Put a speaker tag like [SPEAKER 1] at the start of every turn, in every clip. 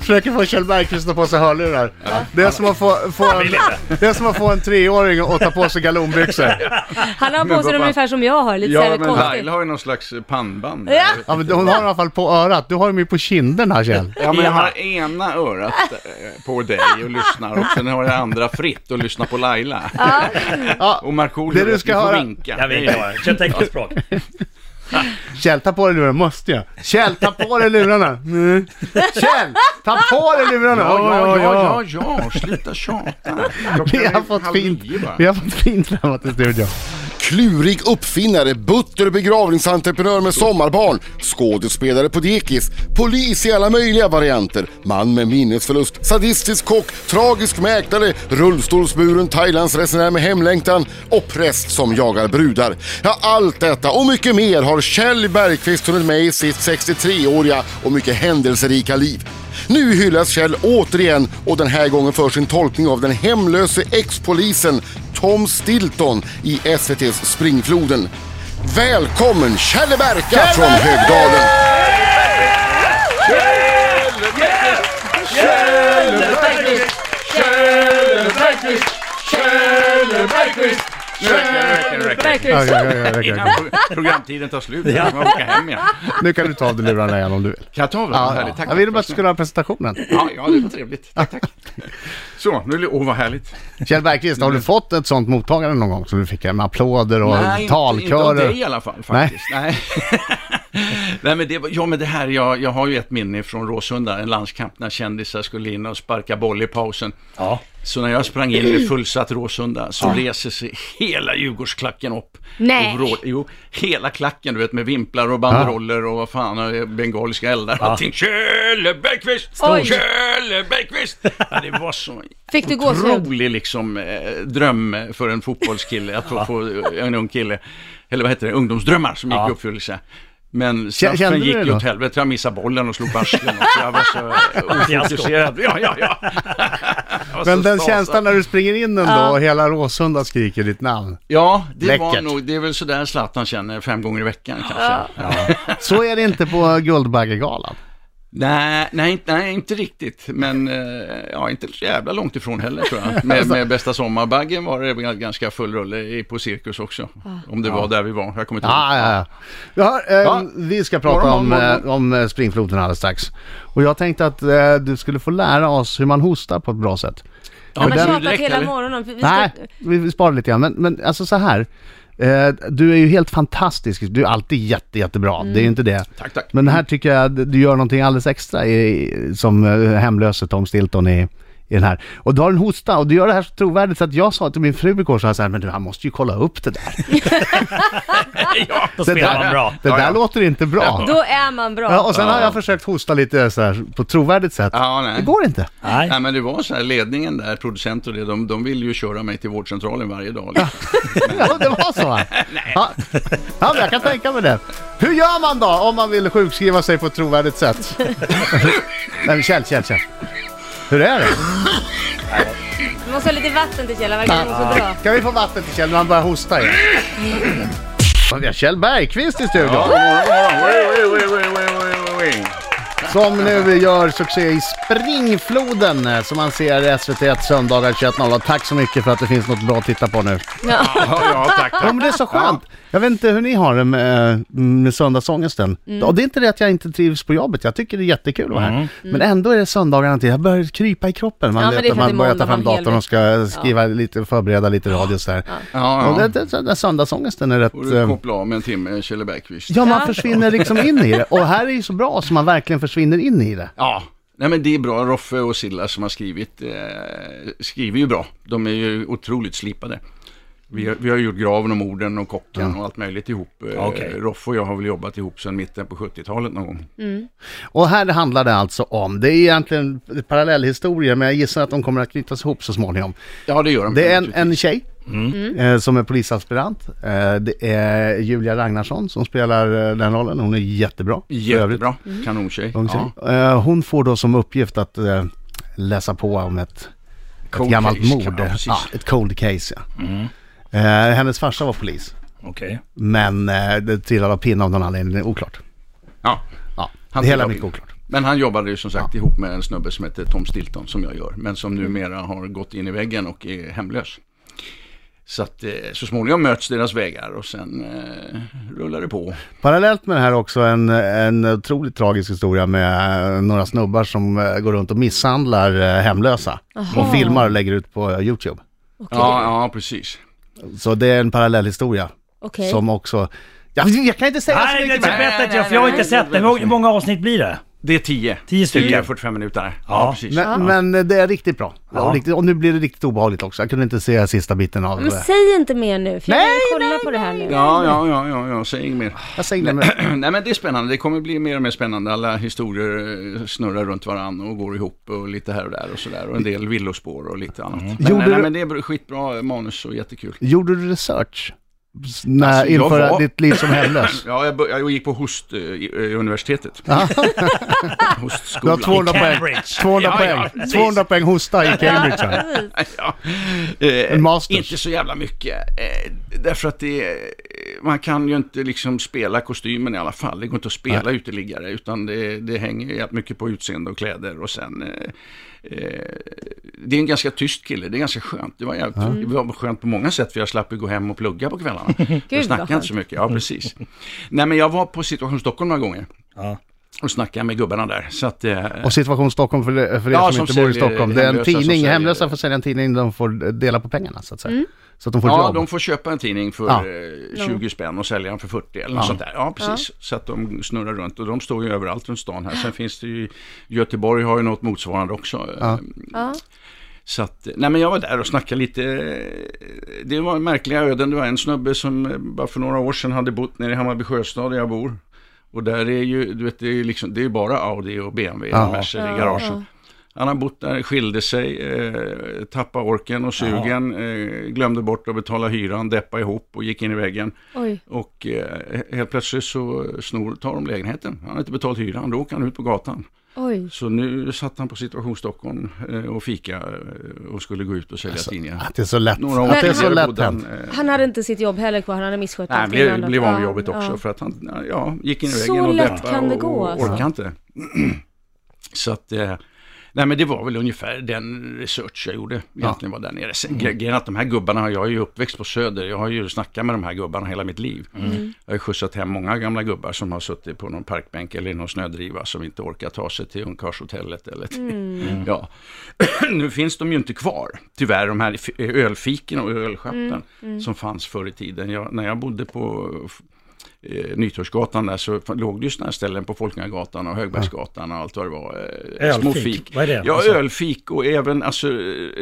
[SPEAKER 1] Försöker få Kjell Bergqvist att ta på sig hörlurar. Det är som att få, få en, det är som att få en treåring att ta på sig galonbyxor.
[SPEAKER 2] Han har på sig dem ungefär som jag har, lite
[SPEAKER 3] Ja,
[SPEAKER 2] såhär
[SPEAKER 3] men
[SPEAKER 2] konstigt.
[SPEAKER 3] Laila har ju någon slags pannband.
[SPEAKER 2] Ja.
[SPEAKER 1] Ja, men hon har i alla fall på örat. Du har dem ju på kinderna Kjell.
[SPEAKER 3] Ja, men jag har ena örat eh, på dig och lyssnar och sen har jag andra fritt och lyssnar på Laila.
[SPEAKER 1] Ja.
[SPEAKER 3] Och Markoolio,
[SPEAKER 1] Det du
[SPEAKER 3] vet,
[SPEAKER 1] ska
[SPEAKER 3] ni får
[SPEAKER 1] höra-
[SPEAKER 3] vinka.
[SPEAKER 4] Jag vet inte, kör teckenspråk.
[SPEAKER 1] Kjell, ta på dig lurarna. Måste jag? Kjell, ta på dig lurarna. Mm. Kjell, ta på dig lurarna.
[SPEAKER 3] Ja, ja,
[SPEAKER 1] Oj, oj, oj.
[SPEAKER 3] ja, ja, ja, sluta tjata. Klockan
[SPEAKER 1] Vi
[SPEAKER 3] är
[SPEAKER 1] har fått
[SPEAKER 3] halv
[SPEAKER 1] fint,
[SPEAKER 3] nio bara.
[SPEAKER 1] vi har fått fint framåt i studion.
[SPEAKER 5] Klurig uppfinnare, butter begravningsentreprenör med sommarbarn, skådespelare på dekis, polis i alla möjliga varianter, man med minnesförlust, sadistisk kock, tragisk mäklare, rullstolsburen thailandsresenär med hemlängtan och präst som jagar brudar. Ja, allt detta och mycket mer har Kjell Bergqvist hunnit med i sitt 63-åriga och mycket händelserika liv. Nu hyllas Kjell återigen och den här gången för sin tolkning av den hemlöse ex-polisen Tom Stilton i SVT's Springfloden. Välkommen Kjell Berka från Högdalen!
[SPEAKER 3] Räcker, räcker, räcker.
[SPEAKER 1] Ja,
[SPEAKER 2] Bergqvist.
[SPEAKER 1] ja, ja, ja, ja, ja.
[SPEAKER 3] Innan pro- programtiden tar slut, jag ska åka hem igen.
[SPEAKER 1] Nu kan du ta av dig lurarna igen om du vill.
[SPEAKER 3] Kan jag ta av den?
[SPEAKER 1] Ja,
[SPEAKER 3] Härligt,
[SPEAKER 1] ja.
[SPEAKER 3] tack.
[SPEAKER 1] Jag ville bara att du skulle ha presentationen.
[SPEAKER 3] Ja, ja, det var trevligt. Tack, tack. Så, nu, åh vad härligt.
[SPEAKER 1] Kjell Bergqvist, har du fått ett sånt mottagande någon gång som du fick? ja, Med applåder och
[SPEAKER 3] Nej, inte- inte av
[SPEAKER 1] talkörer?
[SPEAKER 3] dig i alla fall faktiskt. Nej. Nej, men det, var- ja, men det här, jag, jag har ju ett minne från Råsunda, en landskamp när kändisar skulle in och sparka boll i pausen.
[SPEAKER 4] Ja.
[SPEAKER 3] Så när jag sprang in i fullsatt Råsunda så reser sig hela Djurgårdsklacken upp.
[SPEAKER 2] Nej.
[SPEAKER 3] Och vrå, jo, hela klacken du vet med vimplar och banderoller och vad fan, och bengaliska eldar och allting. Kjelle Bergqvist!
[SPEAKER 2] Oj.
[SPEAKER 3] Kjelle Bergqvist! Ja, det var så
[SPEAKER 2] Fick du gåshud?
[SPEAKER 3] otrolig liksom, eh, dröm för en fotbollskille, att få, få en ung kille, eller vad heter det, ungdomsdrömmar som gick i uppfyllelse. Men
[SPEAKER 1] kände
[SPEAKER 3] straffen
[SPEAKER 1] du
[SPEAKER 3] gick
[SPEAKER 1] det
[SPEAKER 3] ju
[SPEAKER 1] då?
[SPEAKER 3] åt helvete, jag missade bollen och slog barsken och så jag var så ofokuserad. Ja, ja, ja. Jag var
[SPEAKER 1] Men
[SPEAKER 3] så
[SPEAKER 1] den
[SPEAKER 3] stasad.
[SPEAKER 1] känslan när du springer in ändå och hela Råsunda skriker ditt namn.
[SPEAKER 3] Ja, det var
[SPEAKER 1] Läckert.
[SPEAKER 3] nog, det är väl sådär Zlatan känner fem gånger i veckan kanske.
[SPEAKER 1] Så är det inte på Guldbaggegalan.
[SPEAKER 3] Nej, nej, inte- nej, inte riktigt, men eh, ja, inte så jävla långt ifrån heller tror jag. Med, med bästa sommarbaggen var det väl ganska full rulle i- på Cirkus också. Om det var där vi var, jag kommer inte
[SPEAKER 1] Ah, Ja, ja, ja. Vi, har, eh,
[SPEAKER 3] Ja.
[SPEAKER 1] vi ska prata
[SPEAKER 3] Morgon,
[SPEAKER 1] om,
[SPEAKER 3] morgon.
[SPEAKER 1] eh, om eh, springfloden alldeles strax. Och jag tänkte att eh, du skulle få lära oss hur man hostar på ett bra sätt.
[SPEAKER 3] Ja,
[SPEAKER 2] Han har
[SPEAKER 3] men
[SPEAKER 2] tjatat
[SPEAKER 3] du direkt,
[SPEAKER 2] hela
[SPEAKER 3] eller?
[SPEAKER 2] morgonen. Vi ska-
[SPEAKER 1] Nej, vi vi sparar lite grann. Men, men alltså så här. Eh, du är ju helt fantastisk. Du är alltid jätte, jättebra. Det
[SPEAKER 2] Mm.
[SPEAKER 1] är ju inte det.
[SPEAKER 3] Tack, tack.
[SPEAKER 1] Men här tycker jag att du gör någonting alldeles extra i, som eh, hemlöse Tom Stilton i, i den här. Och du har en hosta och du gör det här så trovärdigt så att jag sa till min fru igår så här, så här men du han måste ju kolla upp det där.
[SPEAKER 3] ja,
[SPEAKER 4] Då
[SPEAKER 1] Det
[SPEAKER 4] spelar
[SPEAKER 1] där-
[SPEAKER 4] man bra.
[SPEAKER 1] Det
[SPEAKER 3] Ja,
[SPEAKER 1] där
[SPEAKER 3] ja.
[SPEAKER 1] låter inte bra.
[SPEAKER 2] Då är man
[SPEAKER 1] Ja,
[SPEAKER 2] bra.
[SPEAKER 1] och sen har jag försökt hosta lite så här på ett trovärdigt sätt.
[SPEAKER 3] Ja, nej.
[SPEAKER 1] Det går inte.
[SPEAKER 4] Nej.
[SPEAKER 3] Nej men det var så här, ledningen där, producenter och det, de, de ville ju köra mig till vårdcentralen varje dag. Liksom.
[SPEAKER 1] Ja, det var så? va? Ja. ja, men jag kan tänka mig det. Hur gör man då om man vill sjukskriva sig på ett trovärdigt sätt? Nej, men Kjell, Kjell, Kjell. Hur är det?
[SPEAKER 2] Du måste ha lite vatten till Kjell, han verkar må så bra.
[SPEAKER 1] Kan vi få vatten till Kjell när han börjar hosta igen? Och Vi har Kjell Bergqvist i studion
[SPEAKER 3] Ja, god morgon, god morgon. Oj, oj, oj, oj, oj, oj, oj, oj.
[SPEAKER 1] som nu gör succé i Springfloden eh, som man ser i SVT1 söndagar 21.00. Tack så mycket för att det finns något bra att titta på nu.
[SPEAKER 2] Ja.
[SPEAKER 3] Ja, ja, tack,
[SPEAKER 1] Ja
[SPEAKER 3] tack.
[SPEAKER 1] men det är så skönt. Jag vet inte hur ni har det med, eh, med söndagsångesten.
[SPEAKER 2] Mm.
[SPEAKER 1] Och det är inte det att jag inte trivs på jobbet, jag tycker det är jättekul att vara
[SPEAKER 3] Mm.
[SPEAKER 1] här. Men ändå är det söndagarna till, jag börjar krypa i kroppen. Man,
[SPEAKER 2] Ja, men
[SPEAKER 1] vet
[SPEAKER 2] det är
[SPEAKER 1] att
[SPEAKER 2] för
[SPEAKER 1] man
[SPEAKER 2] att det är
[SPEAKER 1] börjar
[SPEAKER 2] måndag,
[SPEAKER 1] ta fram
[SPEAKER 2] man har
[SPEAKER 1] datorn och ska skriva lite, förbereda lite radio och sådär.
[SPEAKER 3] Ja,
[SPEAKER 1] Och
[SPEAKER 3] ja.
[SPEAKER 1] det, det, den där söndagsångesten är rätt...
[SPEAKER 3] Och du
[SPEAKER 1] eh,
[SPEAKER 3] kopplar av med en timme, Kjelle Bergqvist.
[SPEAKER 1] Ja, man försvinner liksom in i det. Och här är ju så bra så man verkligen försvinner in i det.
[SPEAKER 3] Ja, nej men det är bra. Roffe och Silla som har skrivit, eh, skriver ju bra. De är ju otroligt slipade. Vi har, vi har gjort Graven och Morden och Kocken och allt möjligt ihop. Eh,
[SPEAKER 4] Okej.
[SPEAKER 3] Roffe och jag har väl jobbat ihop sedan mitten på 70-talet någon gång.
[SPEAKER 1] Och här handlar det alltså om, det är egentligen parallellhistorier men jag gissar att de kommer att knytas ihop så småningom.
[SPEAKER 3] Ja, Mm. det gör de.
[SPEAKER 1] Det är en, en tjej eh, som är polisaspirant. Eh, det är Julia Ragnarsson som spelar eh, den rollen. Hon är jättebra. för övrigt.
[SPEAKER 3] Jättebra. Kanontjej.
[SPEAKER 1] Ung
[SPEAKER 3] Ja.
[SPEAKER 1] tjej. Eh, hon får då som uppgift att eh, läsa på om ett, ett
[SPEAKER 3] Cold
[SPEAKER 1] gammalt
[SPEAKER 3] case,
[SPEAKER 1] mord. Ah,
[SPEAKER 3] ja,
[SPEAKER 1] Ja,
[SPEAKER 3] precis.
[SPEAKER 1] ett cold case ja. Eh, hennes farsa var polis.
[SPEAKER 4] Okej.
[SPEAKER 1] Men eh, det trillade av pinnen av någon anledning, det är oklart.
[SPEAKER 3] Ja.
[SPEAKER 1] Ja,
[SPEAKER 3] Han
[SPEAKER 1] det hela är
[SPEAKER 3] trillade av
[SPEAKER 1] mycket
[SPEAKER 3] pinnen.
[SPEAKER 1] oklart.
[SPEAKER 3] Men han jobbade ju som sagt ihop med en snubbe som heter Tom Stilton som jag gör. Men som numera har gått in i väggen och är hemlös. Så att eh, så småningom möts deras vägar och sen eh, rullar det på.
[SPEAKER 1] Parallellt med det här också en, en otroligt tragisk historia med eh, några snubbar som eh, går runt och misshandlar eh, hemlösa. Och filmar och lägger ut på eh, Youtube.
[SPEAKER 2] Okej.
[SPEAKER 3] Ja, ja precis.
[SPEAKER 1] Så det är en parallell historia.
[SPEAKER 2] Okej.
[SPEAKER 1] Som också... Jag, jag kan inte säga så
[SPEAKER 4] Nej, det är
[SPEAKER 1] mycket
[SPEAKER 4] inte
[SPEAKER 1] mer.
[SPEAKER 4] berättat jag, för jag har inte sett det. Hur många- hur många avsnitt blir det?
[SPEAKER 3] Det är 10.
[SPEAKER 4] Tio stycken.
[SPEAKER 3] 45 minuter. Ja,
[SPEAKER 4] Ja.
[SPEAKER 3] precis.
[SPEAKER 1] Men, men eh, det är riktigt bra. Ja.
[SPEAKER 4] Ja.
[SPEAKER 1] Och, riktigt, och nu blir det riktigt obehagligt också. Jag kunde inte se sista biten av...
[SPEAKER 2] Men
[SPEAKER 1] eh,
[SPEAKER 2] säg inte mer nu, för jag
[SPEAKER 1] Nej,
[SPEAKER 2] vill kolla på det här nu.
[SPEAKER 3] Ja, ja, ja, ja, ja, säg inget mer.
[SPEAKER 1] Jag säger det med...
[SPEAKER 3] Nej men det är spännande, det kommer bli mer och mer spännande. Alla historier eh, snurrar runt varann och går ihop och lite här och där och sådär. Och en del villospår och lite annat. Men,
[SPEAKER 1] Gjorde
[SPEAKER 3] nej, nej,
[SPEAKER 1] du-
[SPEAKER 3] men det är skitbra manus och jättekul.
[SPEAKER 1] Gjorde du research? S- När,
[SPEAKER 3] Alltså, jag
[SPEAKER 1] inför
[SPEAKER 3] var-
[SPEAKER 1] ditt liv som hemlös?
[SPEAKER 3] Ja, jag, bör- jag gick på Host eh, i- eh, universitetet.
[SPEAKER 1] Du har
[SPEAKER 3] Hostskolan.
[SPEAKER 1] 200 poäng.
[SPEAKER 4] Cambridge.
[SPEAKER 1] 200
[SPEAKER 3] Ja, ja,
[SPEAKER 1] poäng.
[SPEAKER 3] precis.
[SPEAKER 1] 200 poäng hosta i Cambridge. sen.
[SPEAKER 3] ja. eh,
[SPEAKER 1] En masters.
[SPEAKER 3] Inte så jävla mycket. Eh, därför att det, eh, man kan ju inte liksom spela kostymen i alla fall. Det går inte att spela uteliggare. Utan det, det hänger ju jävligt mycket på utseende och kläder. Och sen, eh, eh, det är en ganska tyst kille. Det är ganska skönt. Det var, jävligt, det var skönt på många sätt. För jag slapp ju gå hem och plugga på kvällarna. jag
[SPEAKER 2] vad
[SPEAKER 3] snackade
[SPEAKER 2] skönt.
[SPEAKER 3] inte så mycket. Ja, precis. Nej, men jag var på Situation Stockholm några gånger.
[SPEAKER 4] Ja.
[SPEAKER 3] Och snackade med gubbarna där. Så att, eh,
[SPEAKER 1] Och Situation Stockholm, för, för er som,
[SPEAKER 3] Ja, som
[SPEAKER 1] inte bor i
[SPEAKER 3] säljer
[SPEAKER 1] Stockholm, det är en
[SPEAKER 3] hemlösa som
[SPEAKER 1] tidning.
[SPEAKER 3] säljer-
[SPEAKER 1] Hemlösa får sälja en tidning, de får dela på pengarna så att säga. Så att de får ett
[SPEAKER 3] Ja,
[SPEAKER 1] jobb.
[SPEAKER 3] de får köpa en tidning för
[SPEAKER 1] Ja.
[SPEAKER 3] eh, 20 spänn och sälja den för 40 eller något sånt där. Ja, precis. Så att de snurrar runt och de står ju överallt runt stan här. Sen finns det ju, Göteborg har ju något motsvarande också. Eh,
[SPEAKER 1] Ja.
[SPEAKER 2] Ja.
[SPEAKER 3] Så att, nej men jag var där och snackade lite. Det var märkliga öden. Det var en snubbe som eh, bara för några år sedan hade bott nere i Hammarby Sjöstad där jag bor. Och där är ju, du vet, det är ju liksom, det är ju bara Audi och BMW
[SPEAKER 1] Ja.
[SPEAKER 3] och Mercer i garagen. Han har bott där, skilde sig, eh, tappade orken och sugen, eh, glömde bort att betala hyran, deppade ihop och gick in i väggen.
[SPEAKER 2] Oj.
[SPEAKER 3] Och eh, helt plötsligt så snor, tar de lägenheten. Han har inte betalt hyran, då åker han ut på gatan.
[SPEAKER 2] Oj.
[SPEAKER 3] Så nu satt han på Situation Stockholm eh, och fika eh, och skulle gå ut och sälja tidningar.
[SPEAKER 1] Att det är så lätt.
[SPEAKER 3] Några år
[SPEAKER 1] Att Alltså, ah. det är så
[SPEAKER 3] tidigare
[SPEAKER 1] lätt
[SPEAKER 3] bodde han,
[SPEAKER 1] hänt.
[SPEAKER 3] eh,
[SPEAKER 2] Han hade inte sitt jobb heller kvar, han hade misskött
[SPEAKER 3] Nej,
[SPEAKER 2] allting
[SPEAKER 3] blev,
[SPEAKER 2] annat.
[SPEAKER 3] blev av med
[SPEAKER 2] Ja,
[SPEAKER 3] jobbet också
[SPEAKER 2] ja.
[SPEAKER 3] för att han ja, gick in i
[SPEAKER 2] Så
[SPEAKER 3] väggen och
[SPEAKER 2] lätt
[SPEAKER 3] deppade
[SPEAKER 2] kan det
[SPEAKER 3] och,
[SPEAKER 2] gå,
[SPEAKER 3] och
[SPEAKER 2] alltså.
[SPEAKER 3] orkade inte. Så att, eh, nej men det var väl ungefär den research jag gjorde egentligen var där nere. Sen gre- grejen är att de här gubbarna, jag är ju uppväxt på Söder, jag har ju snackat med de här gubbarna hela mitt liv. Jag har ju skjutsat hem många gamla gubbar som har suttit på någon parkbänk eller i någon snödriva som inte orkar ta sig till ungkarlshotellet eller till, ja. nu finns de ju inte kvar, tyvärr, de här f- ölfiken och ölskeppen som fanns förr i tiden. Jag, när jag bodde på eh, Nytorgsgatan där så f- låg det ju sådana här ställen på Folkungagatan och Högbergsgatan och allt vad det var. eh,
[SPEAKER 4] Ölfik.
[SPEAKER 3] små fik.
[SPEAKER 4] Vad är det?
[SPEAKER 3] Ja,
[SPEAKER 4] Alltså-
[SPEAKER 3] ölfik och även alltså eh,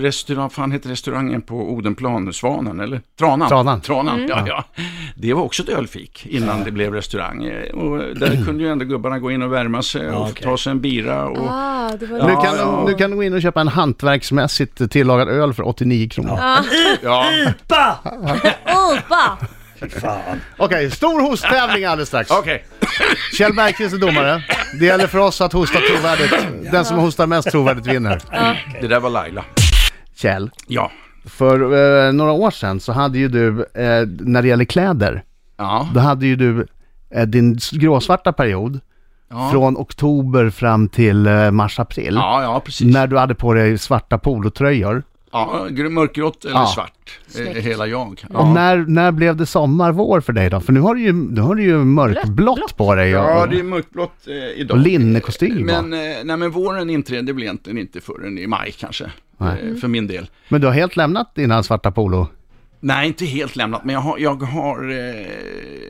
[SPEAKER 3] restaurang, fan heter restaurangen på Odenplan, Svanen eller Tranan?
[SPEAKER 1] Tranan.
[SPEAKER 3] Tranan, ja, ja. Det var också ett ölfik innan det blev restaurang. eh, Och där kunde ju ändå gubbarna gå in och värma sig och
[SPEAKER 4] Mm. okej.
[SPEAKER 3] ta sig en bira och
[SPEAKER 2] Ah, det var...
[SPEAKER 1] Nu
[SPEAKER 3] Ja,
[SPEAKER 1] kan,
[SPEAKER 3] ja.
[SPEAKER 1] de, nu kan du gå in och köpa en hantverksmässigt tillagad öl för 89 kronor.
[SPEAKER 3] ja.
[SPEAKER 4] Upa!
[SPEAKER 2] Opa!
[SPEAKER 4] Fan.
[SPEAKER 1] Okej, stor hosttävling alldeles strax.
[SPEAKER 3] Okej,
[SPEAKER 1] Kjell Bergqvist är domare. Det gäller för oss att hosta trovärdigt. Den som hostar mest trovärdigt vinner.
[SPEAKER 3] det där var Laila.
[SPEAKER 1] Kjell,
[SPEAKER 3] Ja.
[SPEAKER 1] för eh, några år sedan så hade ju du, eh, när det gäller kläder,
[SPEAKER 3] Ja.
[SPEAKER 1] då hade ju du eh, din s- gråsvarta period
[SPEAKER 3] Ja.
[SPEAKER 1] från oktober fram till eh, mars-april.
[SPEAKER 3] ja, ja, precis.
[SPEAKER 1] När du hade på dig svarta polotröjor.
[SPEAKER 3] Ja, gr- mörkgrått eller
[SPEAKER 1] Ja.
[SPEAKER 3] svart. Eh,
[SPEAKER 2] Snyggt.
[SPEAKER 3] Hela jag.
[SPEAKER 1] Och
[SPEAKER 3] Ja.
[SPEAKER 1] när, när blev det sommar, vår för dig då? För nu har du ju, nu har du ju mörkblått på dig och,
[SPEAKER 3] ja,
[SPEAKER 1] och,
[SPEAKER 3] det är mörkblått eh, idag.
[SPEAKER 1] och linnekostym. Men,
[SPEAKER 3] Men, eh, nej, men våren inträdde väl egentligen inte förrän i maj kanske, eh, för min del.
[SPEAKER 1] men du har helt lämnat dina svarta polo.
[SPEAKER 3] Nej, inte helt lämnat, men jag har, jag har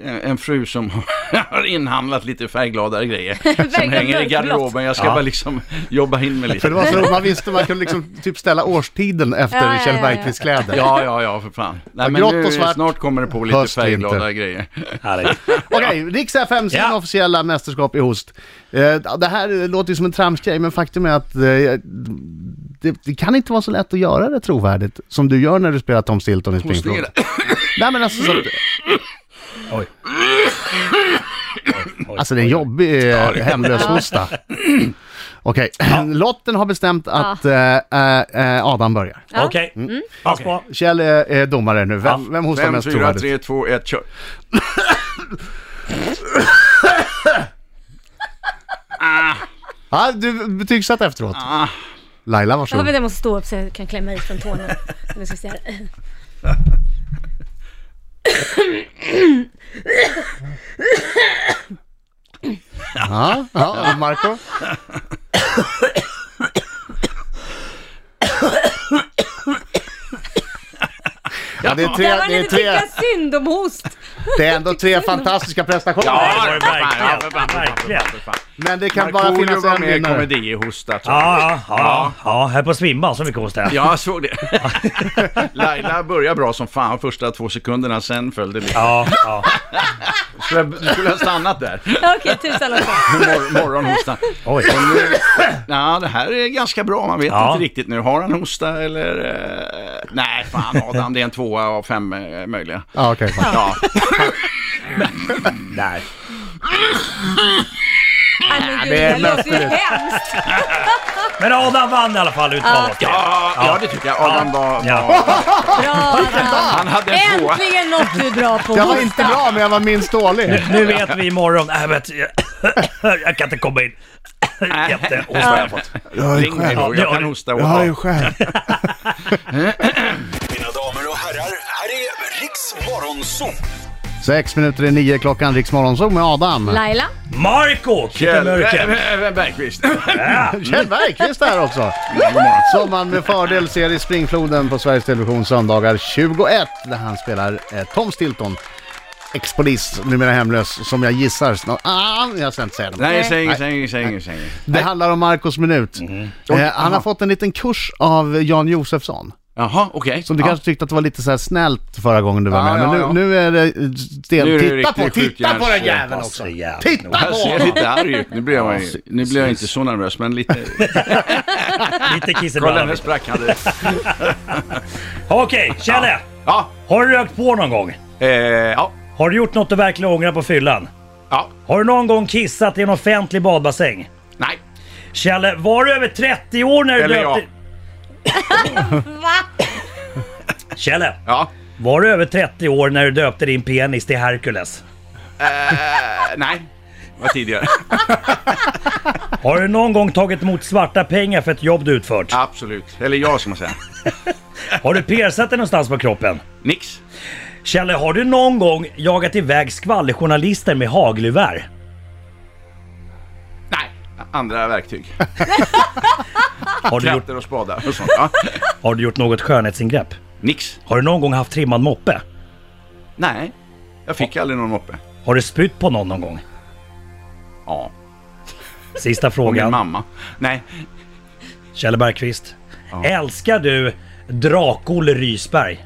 [SPEAKER 3] eh, en fru som har inhandlat lite färggladare grejer som
[SPEAKER 2] Verkligen
[SPEAKER 3] hänger i
[SPEAKER 2] mörkblått.
[SPEAKER 3] garderoben. Jag ska bara liksom jobba in med
[SPEAKER 1] För det
[SPEAKER 3] lite.
[SPEAKER 1] var så roligt, man visste, man kunde liksom typ ställa årstiden efter
[SPEAKER 2] Ja, ja,
[SPEAKER 1] Kjell
[SPEAKER 2] ja,
[SPEAKER 1] Bergqvists kläder.
[SPEAKER 3] Ja, ja, ja, för fan. Nej,
[SPEAKER 1] Och
[SPEAKER 3] men
[SPEAKER 1] grått
[SPEAKER 3] nu,
[SPEAKER 1] och svart.
[SPEAKER 3] snart kommer det på lite
[SPEAKER 1] Höst, vinter.
[SPEAKER 3] färggladare grejer.
[SPEAKER 4] Härligt.
[SPEAKER 1] Okej, Riks FM, sin
[SPEAKER 4] Ja.
[SPEAKER 1] officiella mästerskap i host. Eh, Det här låter ju som en tramsgrej, men faktum är att eh, det, det kan inte vara så lätt att göra det trovärdigt som du gör när du spelar Tom Stilton i Springfield. Nej men alltså, så,
[SPEAKER 4] Oj.
[SPEAKER 1] alltså det är en jobbig eh, hemlös hosta. Okej, lotten har bestämt att eh, eh, eh, Adam börjar.
[SPEAKER 2] Ja.
[SPEAKER 4] Okej.
[SPEAKER 3] Mm.
[SPEAKER 4] Mm. Pass på.
[SPEAKER 1] Kjell är, är domare nu, vem, vem hostar
[SPEAKER 3] 5,
[SPEAKER 1] mest
[SPEAKER 3] 4,
[SPEAKER 1] trovärdigt?
[SPEAKER 3] 3, 2, 1, kör.
[SPEAKER 1] Ja, du betygsatt efteråt.
[SPEAKER 3] Ah,
[SPEAKER 1] Laila,
[SPEAKER 2] Jag har
[SPEAKER 1] varsågod.
[SPEAKER 2] väl den måste stå upp så jag kan klämma i från tårna. Nu ska vi se här.
[SPEAKER 1] Ja, ja, och Marco? Ja, det är tre,
[SPEAKER 2] Där var
[SPEAKER 1] det
[SPEAKER 2] ni
[SPEAKER 1] är
[SPEAKER 2] inte
[SPEAKER 1] tre,
[SPEAKER 2] tycka synd om host.
[SPEAKER 1] det är ändå tre fantastiska prestationer.
[SPEAKER 4] det var ju verkligen- verkligen.
[SPEAKER 1] Men det kan bara
[SPEAKER 3] Markoolio
[SPEAKER 1] finnas
[SPEAKER 3] var
[SPEAKER 1] en
[SPEAKER 3] med i
[SPEAKER 1] vinnare.
[SPEAKER 3] komedihostat.
[SPEAKER 4] Ja, ja, ja, ja, här på svimma så mycket hos det.
[SPEAKER 3] Ja, jag såg det. Laila började bra som fan första två sekunderna, sen följde det.
[SPEAKER 4] Ja, ja.
[SPEAKER 3] Skulle jag- skulle ha stannat där.
[SPEAKER 2] Ja, Okej, tusan också.
[SPEAKER 3] Mor- morgonhostan.
[SPEAKER 4] Oj.
[SPEAKER 3] Ja, det här är ganska bra. Man vet
[SPEAKER 4] Ja.
[SPEAKER 3] inte riktigt nu. Har han hosta eller... eh, Nej, fan Adam, det är en tvåa av fem eh, möjliga.
[SPEAKER 1] Ja, okej.
[SPEAKER 3] Ja,
[SPEAKER 4] Där.
[SPEAKER 2] Nej men gud,
[SPEAKER 1] det
[SPEAKER 2] det
[SPEAKER 1] är
[SPEAKER 2] här låter ju
[SPEAKER 1] löftesrikt.
[SPEAKER 2] hemskt.
[SPEAKER 4] Men Adam vann i alla fall utmanat.
[SPEAKER 3] ja, ja det tycker jag. Adam var... var
[SPEAKER 4] Ja.
[SPEAKER 2] Bra Adam.
[SPEAKER 3] han hade en tvåa.
[SPEAKER 2] Äntligen något du är bra på.
[SPEAKER 1] Jag var
[SPEAKER 2] Hosta.
[SPEAKER 1] inte bra, men jag var minst dålig.
[SPEAKER 4] Nu vet vi imorgon. Nej, men jag, jag kan inte komma in. Jättehosta har jag fått.
[SPEAKER 1] Jag
[SPEAKER 3] Ring mig då, jag kan hosta. åt
[SPEAKER 1] Jag har
[SPEAKER 3] dig.
[SPEAKER 1] ju själv.
[SPEAKER 6] Mina damer och herrar, här är Riks Morgonzoo!
[SPEAKER 1] Sex minuter i nio klockan, Rix Morgonzoo med Adam.
[SPEAKER 2] Laila.
[SPEAKER 4] Marco
[SPEAKER 3] Kjell
[SPEAKER 4] Kittemörken.
[SPEAKER 3] eh, eh, Bergqvist.
[SPEAKER 1] Kjell Bergqvist här också. Som man med fördel ser i Springfloden på Sveriges Television söndagar 21 där han spelar eh, Tom Stilton. Ex-polis, numera hemlös, som jag gissar snart... Ah, jag ska inte säga det.
[SPEAKER 3] Nej, säg Mhm. inget, säg inget, säg inget, säg inget.
[SPEAKER 1] Det handlar om Marcos minut. Eh, han har fått en liten kurs av Jan Josefsson.
[SPEAKER 3] Jaha, okej.
[SPEAKER 1] Som du
[SPEAKER 3] Ja.
[SPEAKER 1] kanske tyckte att det var lite så här snällt förra gången du var
[SPEAKER 3] Ja,
[SPEAKER 1] med. Men
[SPEAKER 3] ja,
[SPEAKER 1] nu,
[SPEAKER 3] ja.
[SPEAKER 1] nu är det eh, sten.
[SPEAKER 3] Nu är det
[SPEAKER 1] titta på,
[SPEAKER 3] riktigt
[SPEAKER 1] titta på den
[SPEAKER 3] skjutjärns-
[SPEAKER 1] jäveln också! Titta på
[SPEAKER 3] Jag ser
[SPEAKER 1] honom!
[SPEAKER 3] lite arg ut. Nu blir jag, nu blir jag inte så nervös, men lite...
[SPEAKER 4] Lite kiss i
[SPEAKER 3] Kolla,
[SPEAKER 4] brallan.
[SPEAKER 3] nu sprack han. direkt.
[SPEAKER 4] Okej, Kjelle.
[SPEAKER 3] Ja,
[SPEAKER 4] Har du rökt på någon gång?
[SPEAKER 3] eh, ja,
[SPEAKER 4] Har du gjort något du verkligen ångrar på fyllan?
[SPEAKER 3] ja,
[SPEAKER 4] Har du någon gång kissat i en offentlig badbassäng?
[SPEAKER 3] nej.
[SPEAKER 4] Kjelle, var du över 30 år när du
[SPEAKER 3] Eller ja.
[SPEAKER 4] döpte... Kjelle,
[SPEAKER 3] Ja,
[SPEAKER 4] var du över 30 år när du döpte din penis till Hercules?
[SPEAKER 3] eh, nej. Vad tidigare.
[SPEAKER 4] Har du någon gång tagit emot svarta pengar för ett jobb du utfört?
[SPEAKER 3] Absolut. Eller jag ska man säga.
[SPEAKER 4] Har du persat dig någonstans på kroppen?
[SPEAKER 3] Nix.
[SPEAKER 4] Kjelle, har du någon gång jagat iväg skvallerjournalister med hagelgevär?
[SPEAKER 3] Nej. Andra verktyg.
[SPEAKER 4] Har, du gjort-
[SPEAKER 3] Kratter och spadar och sånt. Ja.
[SPEAKER 4] har du gjort något skönhetsingrepp?
[SPEAKER 3] Nix.
[SPEAKER 4] Har du någon gång haft trimmad moppe?
[SPEAKER 3] Nej. Jag fick aldrig någon moppe.
[SPEAKER 4] Har du spytt på någon någon gång?
[SPEAKER 3] Ja.
[SPEAKER 4] Sista
[SPEAKER 3] Och min
[SPEAKER 4] frågan.
[SPEAKER 3] mamma. Nej.
[SPEAKER 4] Kjell Bergqvist. Älskar du Drak-Olle Rysberg?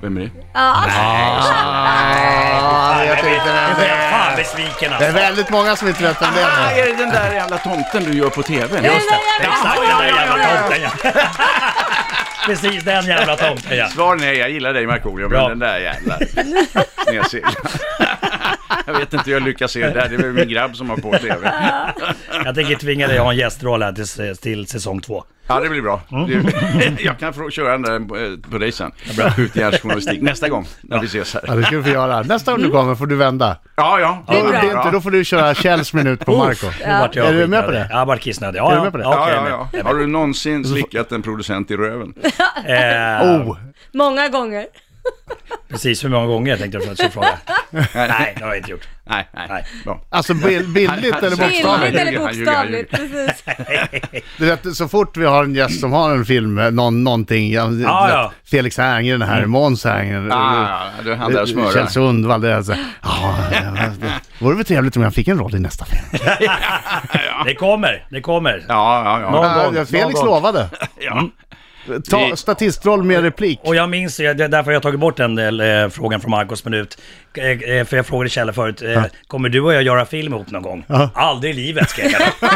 [SPEAKER 3] Vem är det?
[SPEAKER 1] Ah, jag tänkte det.
[SPEAKER 4] Jag är fan besviken
[SPEAKER 1] Det är
[SPEAKER 4] alltså.
[SPEAKER 1] väldigt många som inte vet vem det
[SPEAKER 3] Ah,
[SPEAKER 1] är.
[SPEAKER 3] är det den där jävla tomten du gör på TV?
[SPEAKER 4] Just det, exakt den där jävla tomten ja. Precis den jävla tomten ja.
[SPEAKER 3] Svar nej, jag gillar dig Markoolio, men
[SPEAKER 4] Bra.
[SPEAKER 3] den där jävla snedsillan. Jag vet inte hur jag lyckas se det där, det är väl min grabb som har på TV.
[SPEAKER 4] Jag tänker tvinga dig att ha en gästroll här till, till säsong två.
[SPEAKER 3] Ja, det blir bra. Det- Jag kan få köra den där eh, på dig sen. Skjutjärnsjournalistik, nästa gång när vi ses
[SPEAKER 1] Ja,
[SPEAKER 3] här.
[SPEAKER 1] det ska du få göra. Nästa gång du
[SPEAKER 3] Mm.
[SPEAKER 1] kommer får du vända.
[SPEAKER 3] Ja, ja.
[SPEAKER 2] Det är
[SPEAKER 1] Om
[SPEAKER 2] bra.
[SPEAKER 1] det inte, då får du köra Kjells minut
[SPEAKER 4] Oh.
[SPEAKER 1] på Oh, Marco.
[SPEAKER 4] Nu vart jag
[SPEAKER 1] Är du med på
[SPEAKER 4] skitnödig.
[SPEAKER 1] det?
[SPEAKER 4] Ja, Jag vart kissnödig. Ja,
[SPEAKER 1] Är du med på det?
[SPEAKER 3] Ja,
[SPEAKER 4] okej,
[SPEAKER 3] ja, ja. Har du någonsin slickat en producent i röven?
[SPEAKER 4] men, eh,
[SPEAKER 1] Oh,
[SPEAKER 2] Många gånger.
[SPEAKER 4] Precis hur många gånger tänkte jag först fråga. Nej, det har jag inte gjort.
[SPEAKER 3] Nej, nej.
[SPEAKER 4] Nej.
[SPEAKER 3] Bra.
[SPEAKER 1] alltså bild, bildligt eller
[SPEAKER 3] Bildligt.
[SPEAKER 1] bokstavligt?
[SPEAKER 2] Bildligt
[SPEAKER 3] Han
[SPEAKER 2] eller
[SPEAKER 3] ljuger, han ljuger, han ljuger.
[SPEAKER 2] bokstavligt. Precis.
[SPEAKER 1] Du vet, så fort vi har en gäst som har en film, eh, någon, någonting, ja, du
[SPEAKER 4] Ja,
[SPEAKER 1] vet,
[SPEAKER 4] ja.
[SPEAKER 1] Felix Herngren här, Måns Herngren,
[SPEAKER 3] Ah, du han där
[SPEAKER 1] eh, Kjell
[SPEAKER 3] smörar.
[SPEAKER 1] Sundvall, det är alltså, ja, det- det vore väl trevligt om jag fick en roll i nästa film.
[SPEAKER 4] Det kommer, det kommer.
[SPEAKER 3] Ja, ja, ja.
[SPEAKER 4] Någon
[SPEAKER 1] Ja,
[SPEAKER 4] gång,
[SPEAKER 1] Felix
[SPEAKER 4] någon gång.
[SPEAKER 1] lovade.
[SPEAKER 3] ja.
[SPEAKER 1] Ta statistroll med replik.
[SPEAKER 4] Och jag minns, jag- det är därför jag har tagit bort den del, eh, frågan från Marcos minut. Eh, eh, för jag frågade Kjell förut, eh, kommer du och jag göra film ihop någon gång? Aldrig i livet skrek jag.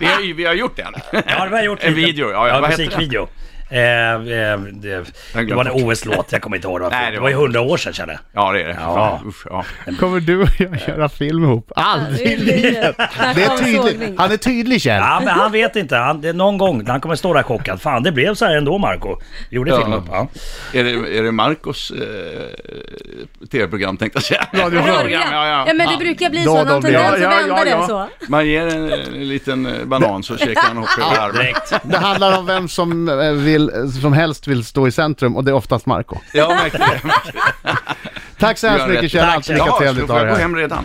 [SPEAKER 3] Vi, har, ju- vi har gjort det.
[SPEAKER 4] Ja, det har jag gjort.
[SPEAKER 3] En
[SPEAKER 4] lite.
[SPEAKER 3] video, ja, ja.
[SPEAKER 4] ja
[SPEAKER 3] Vad heter den?
[SPEAKER 4] musikvideo. Eh, eh, det,
[SPEAKER 3] Jag
[SPEAKER 4] det var en
[SPEAKER 3] glömde.
[SPEAKER 4] OS-låt, jag kommer inte ihåg. Det var,
[SPEAKER 3] Nej, det
[SPEAKER 4] det
[SPEAKER 3] var-
[SPEAKER 4] var ju hundra år sedan kände jag.
[SPEAKER 3] Ja, det är det.
[SPEAKER 4] Ja.
[SPEAKER 3] Fan, Usch, ja.
[SPEAKER 1] Kommer du och jag göra film ihop? Aldrig! Det är tydligt. Han är tydlig Kjell.
[SPEAKER 4] Ja, men han vet inte. Han, det är någon gång, han kommer stå där chockad. Fan, det blev så här ändå Marco Vi gjorde
[SPEAKER 3] Ja.
[SPEAKER 4] film upp. Ja.
[SPEAKER 3] Är det, är det Marcos eh, tv-program tänkte jag säga?
[SPEAKER 2] Ja, ja, men det brukar bli så.
[SPEAKER 1] Då,
[SPEAKER 2] Någon
[SPEAKER 1] då blir-
[SPEAKER 2] tendens att
[SPEAKER 1] ja,
[SPEAKER 2] vända
[SPEAKER 1] ja, ja, ja.
[SPEAKER 2] den så.
[SPEAKER 3] Man ger en, en liten eh, banan så käkar han upp över armen.
[SPEAKER 4] Direkt.
[SPEAKER 1] Det handlar om vem som, eh, vill, eh, som helst vill stå i centrum och det är oftast Marco.
[SPEAKER 3] Jag märkte det.
[SPEAKER 1] Tack så hemskt
[SPEAKER 3] Du har
[SPEAKER 1] mycket
[SPEAKER 3] rätt.
[SPEAKER 1] Kjell,
[SPEAKER 4] Tack,
[SPEAKER 1] alltid
[SPEAKER 4] Kjell.
[SPEAKER 1] lika
[SPEAKER 3] Ja, så
[SPEAKER 1] trevligt att
[SPEAKER 3] får
[SPEAKER 1] ha dig
[SPEAKER 3] jag gå
[SPEAKER 1] här.
[SPEAKER 3] hem redan.